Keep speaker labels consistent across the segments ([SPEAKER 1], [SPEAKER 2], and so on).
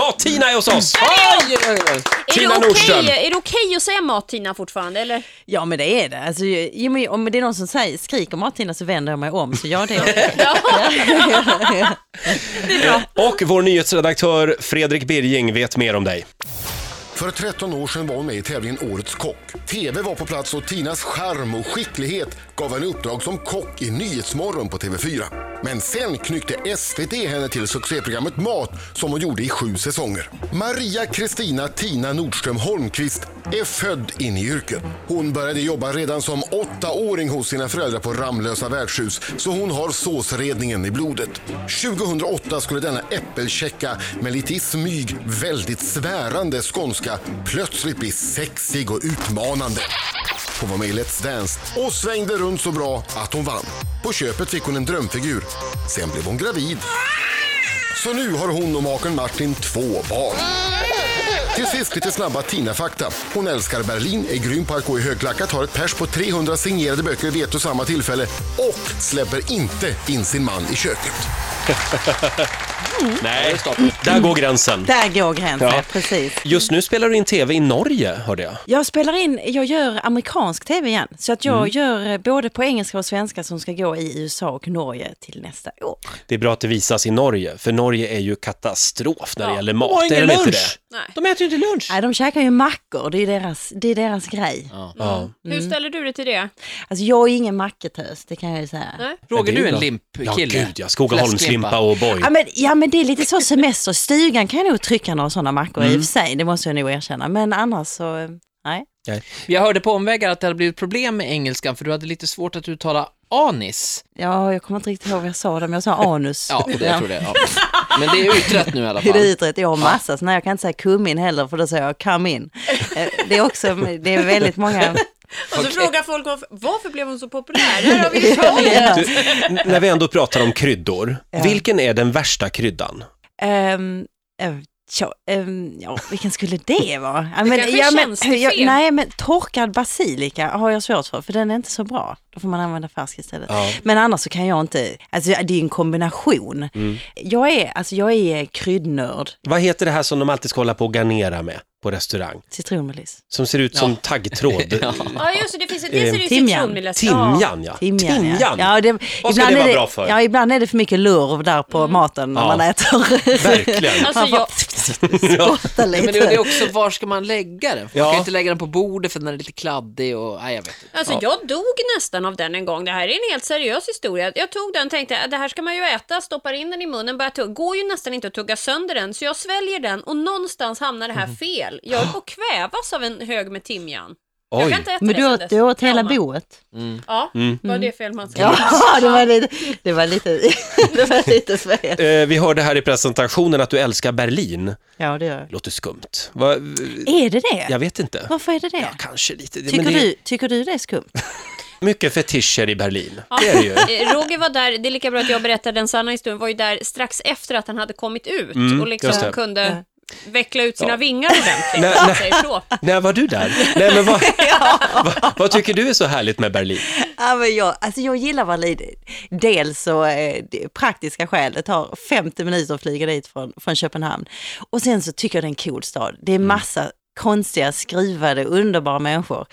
[SPEAKER 1] Mat-Tina är hos oss!
[SPEAKER 2] Aj, aj, aj.
[SPEAKER 3] Är
[SPEAKER 1] Tina
[SPEAKER 3] det
[SPEAKER 1] Nordström.
[SPEAKER 3] okej- Är det okej att säga mat-Tina fortfarande? Eller?
[SPEAKER 4] Ja men det är det. Alltså, ju- ju, men om det är någon som säger, skriker Martina så vänder jag mig om. Så ja det är okej.
[SPEAKER 1] Och vår nyhetsredaktör Fredrik Birging vet mer om dig.
[SPEAKER 5] För 13 år sedan var hon med i tävlingen Årets kock. TV var på plats och Tinas charm och skicklighet gav henne uppdrag som kock i Nyhetsmorgon på TV4. Men sen knyckte SVT henne till succéprogrammet Mat som hon gjorde i sju säsonger. Maria Kristina Tina Nordström Holmqvist är född in i yrket. Hon började jobba redan som åttaåring hos sina föräldrar på Ramlösa värdshus så hon har såsredningen i blodet. 2008 skulle denna äppelkäcka med lite i smyg väldigt svärande skånska plötsligt bli sexig och utmanande. Hon var med i Let's Dance och svängde runt så bra att hon vann. På köpet fick hon en drömfigur. Sen blev hon gravid. Så nu har hon och maken Martin två barn. Till sist lite snabba Tina-fakta. Hon älskar Berlin, är grym på att gå i högklackat, har ett pers på 300 signerade böcker vid ett och samma tillfälle och släpper inte in sin man i köket.
[SPEAKER 1] Nej, där går gränsen.
[SPEAKER 4] Där går gränsen,
[SPEAKER 1] Ja.
[SPEAKER 4] precis.
[SPEAKER 1] Just nu spelar du in TV i Norge, hörde jag.
[SPEAKER 4] Jag spelar in, jag gör amerikansk tv igen. Så att jag
[SPEAKER 1] Mm.
[SPEAKER 4] gör eh, både på engelska och svenska som ska gå i USA och Norge till nästa år.
[SPEAKER 1] Det är bra att det visas i Norge, för Norge är ju katastrof när det gäller
[SPEAKER 2] De har
[SPEAKER 1] mat. Är
[SPEAKER 2] ingen
[SPEAKER 1] det inte
[SPEAKER 2] lunch.
[SPEAKER 1] det?
[SPEAKER 3] Nej.
[SPEAKER 2] De äter ju inte lunch.
[SPEAKER 4] Nej, de käkar ju mackor, det är deras, det är deras grej.
[SPEAKER 1] Ja.
[SPEAKER 3] Hur ställer du dig till det?
[SPEAKER 4] Alltså jag är ingen macketös, det kan jag ju säga.
[SPEAKER 3] Nej.
[SPEAKER 2] Roger,
[SPEAKER 1] Men
[SPEAKER 2] du är
[SPEAKER 1] då-
[SPEAKER 2] en limpkille.
[SPEAKER 1] Ja, gud ja. Skogaholmslimpa och O'boy.
[SPEAKER 4] Ja men, ja men det är lite så semester, stugan kan jag nog trycka några sådana mackor
[SPEAKER 1] Mm.
[SPEAKER 4] i och för sig, det måste jag nog erkänna. Men annars så, eh, nej.
[SPEAKER 2] Jag hörde på omvägar att det hade blivit problem med engelskan för du hade lite svårt att uttala anis.
[SPEAKER 4] Ja, jag kommer inte riktigt ihåg vad jag sa där, men jag sa anus.
[SPEAKER 2] Ja, det, jag tror det. Ja. Men det är utrett nu i alla
[SPEAKER 4] Det är
[SPEAKER 2] fall.
[SPEAKER 4] utrett, jag har massa sådana, jag kan inte säga come in heller för då säger jag come in. Eh, Det är också, det är väldigt många,
[SPEAKER 3] Och så frågar folk varför, varför blev hon så populär? Här har vi ju svaret.
[SPEAKER 1] Du, n- när vi ändå pratar om kryddor,
[SPEAKER 4] Ja.
[SPEAKER 1] vilken är den värsta kryddan?
[SPEAKER 4] Ehm, eh, tja, ehm, ja, vilken skulle det vara? Ja,
[SPEAKER 3] kanske känns det
[SPEAKER 4] jag,
[SPEAKER 3] fel.
[SPEAKER 4] nej, men torkad basilika har jag svårt för, för den är inte så bra. Då får man använda färsk istället. Men annars så kan jag inte, alltså det är en kombination. Jag är, alltså jag är kryddnörd,
[SPEAKER 1] Vad heter det här som de alltid ska hålla på och garnera med på restaurang?
[SPEAKER 4] citronmeliss.
[SPEAKER 1] Som ser ut som taggtråd.
[SPEAKER 3] Ja, just det. Det finns ett det ser ju
[SPEAKER 4] Ehm, Timjan.
[SPEAKER 3] citronmeliss. Ja.
[SPEAKER 1] Timjan, ja.
[SPEAKER 4] Timjan,
[SPEAKER 1] Timjan.
[SPEAKER 4] Ja. Ja, det,
[SPEAKER 1] Vad ska
[SPEAKER 4] ibland
[SPEAKER 1] det
[SPEAKER 4] är
[SPEAKER 1] vara bra för? Mm.
[SPEAKER 4] Ja, ibland är det för mycket lurv där på maten när
[SPEAKER 1] Ja.
[SPEAKER 4] man äter.
[SPEAKER 1] Verkligen.
[SPEAKER 3] Alltså, jag,
[SPEAKER 1] Ja.
[SPEAKER 4] Spotta lite.
[SPEAKER 2] Men det det är också, var ska man lägga den? För
[SPEAKER 1] Ja.
[SPEAKER 2] Man kan ju inte lägga den på bordet för den är lite kladdig och, nej jag vet inte.
[SPEAKER 3] alltså, jag dog nästan av den en gång. Det här är en helt seriös historia. Jag tog den och tänkte att det här ska man ju äta, stoppar in den i munnen, börjar tugga. Går ju nästan inte att tugga sönder den, så jag sväljer den och någonstans hamnar det här
[SPEAKER 4] Mhm.
[SPEAKER 3] fel. Jag höll på att kvävas av en hög med timjan. Jag
[SPEAKER 1] Oj.
[SPEAKER 3] kan inte äta
[SPEAKER 4] Men
[SPEAKER 3] det
[SPEAKER 4] du
[SPEAKER 3] sen
[SPEAKER 4] åt,
[SPEAKER 3] dess.
[SPEAKER 4] du åt hela
[SPEAKER 3] Trauma.
[SPEAKER 4] boet?
[SPEAKER 3] Ja, var det fel man ska
[SPEAKER 4] Ja, det var lite, det var lite, det var lite fel.
[SPEAKER 1] Eh, Vi hörde här i presentationen att du älskar Berlin.
[SPEAKER 4] Ja, det gör jag.
[SPEAKER 1] Låter skumt. Va, eh,
[SPEAKER 4] Är det det?
[SPEAKER 1] jag vet inte.
[SPEAKER 4] Varför är det det?
[SPEAKER 1] Kanske lite.
[SPEAKER 4] Tycker,
[SPEAKER 1] men det
[SPEAKER 4] du, tycker du det är skumt?
[SPEAKER 1] är mycket fetischer i Berlin. Det är det ju.
[SPEAKER 3] Eh, Roger var där, det är lika bra att jag berättar den sanna historien, var ju där strax efter att han hade kommit ut och
[SPEAKER 1] Mm, just det.
[SPEAKER 3] liksom kunde veckla ut sina vingar ordentligt.
[SPEAKER 1] Nej,
[SPEAKER 3] om man
[SPEAKER 1] nej.
[SPEAKER 3] säger så.
[SPEAKER 1] När var du där? Nej, men vad, vad, vad tycker du är så härligt med Berlin?
[SPEAKER 4] Ja, men jag, alltså jag gillar Berlin. Dels så eh, det praktiska skäl, det tar 50 minuter att flyga dit från, från Köpenhamn. Och sen så tycker jag det är en cool stad. Det är massa konstiga, skruvade, underbara människor.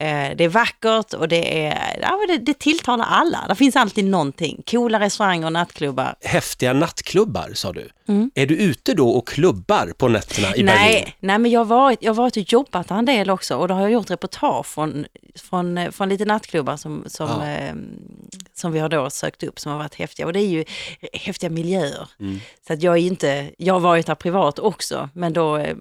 [SPEAKER 4] Eh, det är vackert och det, är, ja, men det, det tilltalar alla. Det finns alltid någonting. Coola restauranger och nattklubbar.
[SPEAKER 1] Häftiga nattklubbar, sa du. Är du ute då och klubbar på nätterna i Berlin?
[SPEAKER 4] Mm. Nej, nej men jag har varit, jag har varit och jobbat där en del också och då har jag gjort reportage från, från, eh, från lite nattklubbar som, som,
[SPEAKER 1] Ja.
[SPEAKER 4] eh, som vi har då sökt upp som har varit häftiga. Och det är ju häftiga miljöer.
[SPEAKER 1] Mm.
[SPEAKER 4] Så att jag är inte, jag har varit där privat också, men då... eh,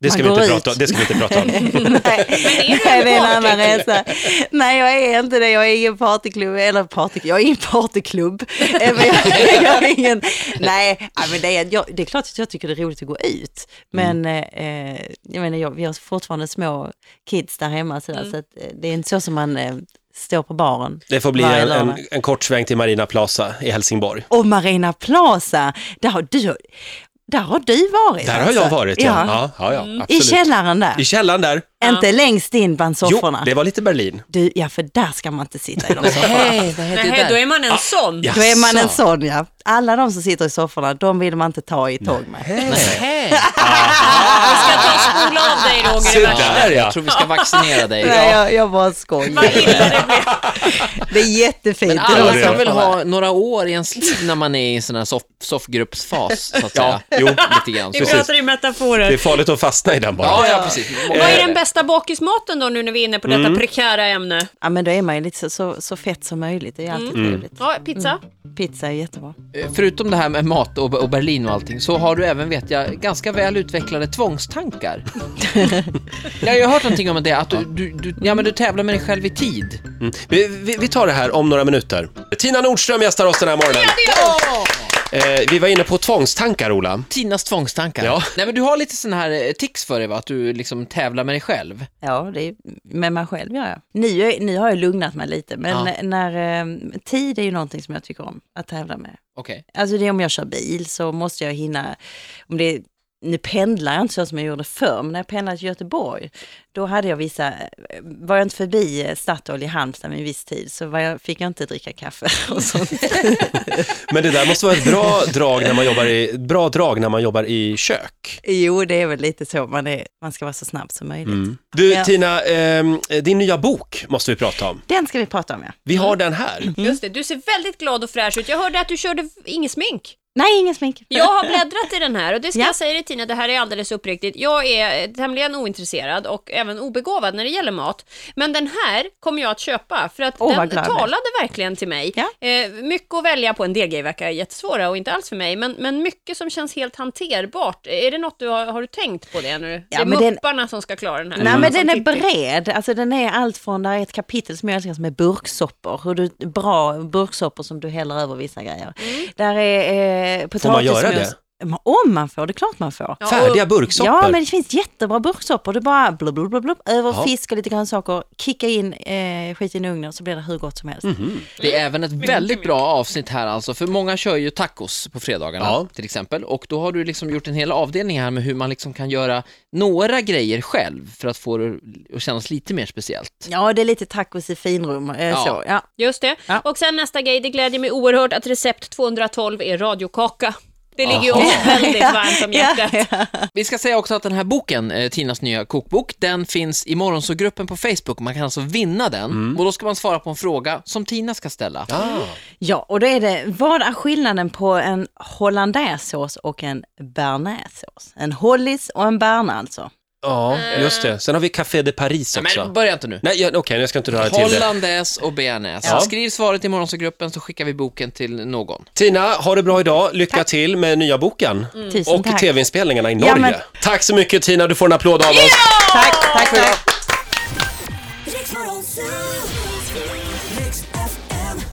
[SPEAKER 1] Det ska, vi
[SPEAKER 4] man
[SPEAKER 1] inte
[SPEAKER 4] går
[SPEAKER 1] prata,
[SPEAKER 4] ut.
[SPEAKER 1] det ska vi inte prata om.
[SPEAKER 4] Nej,
[SPEAKER 3] är du
[SPEAKER 4] nej, det är en
[SPEAKER 3] en
[SPEAKER 4] annan
[SPEAKER 3] party?
[SPEAKER 4] resa. Nej, jag är inte det. Jag är ingen partyklubb, eller party, jag är ingen partyklubb. Eh, men jag, jag är ingen, nej, ja, men det, är, jag, det är klart att jag tycker det är roligt att gå ut. Men
[SPEAKER 1] Mm.
[SPEAKER 4] eh, jag menar, jag, vi har fortfarande små kids där hemma, så, där, så att, eh, det är inte så som man eh, står på baren.
[SPEAKER 1] Mm. Det får bli
[SPEAKER 4] varje
[SPEAKER 1] en,
[SPEAKER 4] lördag.
[SPEAKER 1] en, en kort sväng till Marina Plaza i Helsingborg.
[SPEAKER 4] Och Marina Plaza, där har du... Där har du varit
[SPEAKER 1] Där har
[SPEAKER 4] alltså. Mm.
[SPEAKER 1] jag varit, ja. ja. ja, ja,
[SPEAKER 4] I
[SPEAKER 1] absolut.
[SPEAKER 4] källaren där.
[SPEAKER 1] I källaren där.
[SPEAKER 4] Inte längst in bland
[SPEAKER 1] Jo,
[SPEAKER 4] sofforna.
[SPEAKER 1] det var lite Berlin.
[SPEAKER 4] Du, ja för där ska man inte sitta i de sofforna.
[SPEAKER 2] Nej, det är
[SPEAKER 3] Nej, då är man en sån.
[SPEAKER 1] Ah, Ja.
[SPEAKER 4] Då är man en
[SPEAKER 1] Jaså.
[SPEAKER 4] sån ja. Alla de som sitter i sofforna, de vill man inte ta i tåg med.
[SPEAKER 2] Nej.
[SPEAKER 3] Jag ska ta och spola av dig Roger.
[SPEAKER 1] Se
[SPEAKER 3] i värsta.
[SPEAKER 1] där ja.
[SPEAKER 2] Jag tror vi ska vaccinera dig.
[SPEAKER 4] Nej, jag, jag bara skojar.
[SPEAKER 3] Vad illa det blev.
[SPEAKER 4] Det är jättefint. i de
[SPEAKER 2] Alla ska
[SPEAKER 4] sofforna.
[SPEAKER 2] väl ha några år i ens liv när man är i en sån här soff, soffgruppsfas, så att säga.
[SPEAKER 1] Jo,
[SPEAKER 2] Lite grann.
[SPEAKER 3] Vi
[SPEAKER 1] Precis.
[SPEAKER 3] pratar i
[SPEAKER 1] det är
[SPEAKER 3] metaforer.
[SPEAKER 1] farligt att fastna i den bara.
[SPEAKER 2] Ja, ja, precis.
[SPEAKER 3] Och vad är den bästa bakismaten då nu när vi är inne på
[SPEAKER 1] Mm.
[SPEAKER 3] detta prekära ämne?
[SPEAKER 4] Ja men då är man ju lite så, så, så fett som möjligt, det är ju alltid
[SPEAKER 2] Mm.
[SPEAKER 4] trevligt.
[SPEAKER 3] Ja, pizza.
[SPEAKER 4] Pizza är jättebra.
[SPEAKER 2] Eh, Förutom det här med mat och, och Berlin och allting, så har du även, vet jag, ganska väl utvecklade tvångstankar. jag har ju hört någonting om det, att du, du, du, ja, men du tävlar med dig själv i tid.
[SPEAKER 1] Mm. Vi, vi, vi tar det här om några minuter. Tina Nordström gästar oss den här morgonen. Eh, vi var inne på tvångstankar, Ola.
[SPEAKER 2] Tinas tvångstankar.
[SPEAKER 1] Ja.
[SPEAKER 2] Nej, men du har lite sån här eh, tics för dig, va? att du liksom tävlar med dig själv.
[SPEAKER 4] Ja, det är med mig själv gör jag. Nu, är- nu har jag lugnat mig lite, men
[SPEAKER 2] Ja.
[SPEAKER 4] när, eh, tid är ju någonting som jag tycker om att tävla med.
[SPEAKER 2] Okej.
[SPEAKER 4] Alltså det är om jag kör bil så måste jag hinna, om det är, nu pendlar jag inte så som jag gjorde förr, men när jag pendlade till Göteborg, då hade jag vissa, var jag inte förbi eh, Statoil i Halmstad vid en viss tid så var jag, fick jag inte dricka kaffe och sånt.
[SPEAKER 1] Men det där måste vara ett bra drag när man jobbar i, bra drag när man jobbar i kök.
[SPEAKER 4] jo, det är väl lite så, man, är, man ska vara så snabb som möjligt.
[SPEAKER 1] Du,
[SPEAKER 4] Ja.
[SPEAKER 1] Tina, ehm, din nya bok måste vi prata om.
[SPEAKER 4] Den ska vi prata om ja.
[SPEAKER 1] Vi har den här.
[SPEAKER 2] Mm.
[SPEAKER 3] Just det, du ser väldigt glad och fräsch ut. Jag hörde att du körde inget smink.
[SPEAKER 4] Nej, ingen smink.
[SPEAKER 3] Jag har bläddrat i den här och det ska
[SPEAKER 4] Ja.
[SPEAKER 3] jag säga dig Tina, det här är alldeles uppriktigt. Jag är eh, tämligen ointresserad och även obegåvad när det gäller mat. Men den här kommer jag att köpa för att
[SPEAKER 4] Åh, vad
[SPEAKER 3] den
[SPEAKER 4] glad jag blir.
[SPEAKER 3] talade verkligen till mig.
[SPEAKER 4] Ja.
[SPEAKER 3] Eh, mycket att välja på, en del grejer verkar jättesvåra och inte alls för mig, men, men mycket som känns helt hanterbart. Eh, Är det något du har, har du tänkt på det nu?
[SPEAKER 4] Ja,
[SPEAKER 3] det är
[SPEAKER 4] men den-
[SPEAKER 3] mupparna som ska klara den här.
[SPEAKER 4] Nej, men
[SPEAKER 3] Mm. Som
[SPEAKER 4] den är
[SPEAKER 3] tipp- tipp.
[SPEAKER 4] bred. Alltså, den är allt från, där är ett kapitel som jag älskar som är burksoppor. Hur du, bra burksoppor som du häller över vissa grejer.
[SPEAKER 3] Mm.
[SPEAKER 4] Där är eh, potatismos.
[SPEAKER 1] man göra det?
[SPEAKER 4] Men Om man får, det är klart man får.
[SPEAKER 3] Ja, och-
[SPEAKER 1] Färdiga burksoppor.
[SPEAKER 4] Ja, men det finns jättebra burksoppor. Du bara blub, blub, blub, blub, över
[SPEAKER 1] Ja.
[SPEAKER 4] fisk och lite grönsaker, kicka in eh, skit i en ugnen så blir det hur gott som helst.
[SPEAKER 1] Mhm.
[SPEAKER 2] Det är även ett väldigt bra avsnitt här alltså, för många kör ju tacos på fredagarna
[SPEAKER 1] Ja.
[SPEAKER 2] till exempel och då har du liksom gjort en hel avdelning här med hur man liksom kan göra några grejer själv för att få det att kännas lite mer speciellt.
[SPEAKER 4] Ja, det är lite tacos i finrum. Eh,
[SPEAKER 2] Ja.
[SPEAKER 4] Så, ja.
[SPEAKER 3] Just det.
[SPEAKER 4] Ja.
[SPEAKER 3] Och sen nästa grej, det glädjer mig oerhört att recept 212 är radiokaka. Det ligger ju oss väldigt varmt om hjärtat.
[SPEAKER 4] Ja, ja.
[SPEAKER 2] Vi ska säga också att den här boken, eh, Tinas nya kokbok, den finns i morgonsågruppen på Facebook. Man kan alltså vinna den
[SPEAKER 1] Mm.
[SPEAKER 2] och då ska man svara på en fråga som Tina ska ställa.
[SPEAKER 4] ja, och då är det, vad är skillnaden på en hollandaisesås och en bearnaisesås? En hollis och en bearna alltså.
[SPEAKER 1] Ja, just det. Sen har vi Café de Paris
[SPEAKER 2] Nej,
[SPEAKER 1] också.
[SPEAKER 2] men börja inte nu.
[SPEAKER 1] Nej, jag- okej, jag ska inte röra till det.
[SPEAKER 2] Hollandaise och bearnaise.
[SPEAKER 1] Ja.
[SPEAKER 2] Skriv svaret i morgonsågruppen så skickar vi boken till någon.
[SPEAKER 1] Tina, ha det bra idag. Lycka till med nya boken.
[SPEAKER 4] Mm. Tusen
[SPEAKER 1] Och
[SPEAKER 4] tack.
[SPEAKER 1] tv-inspelningarna i Norge.
[SPEAKER 4] Ja, men-
[SPEAKER 1] Tack så mycket Tina, du får en applåd av oss.
[SPEAKER 4] Tack, tack, tack.
[SPEAKER 6] Riks Morgonzoo!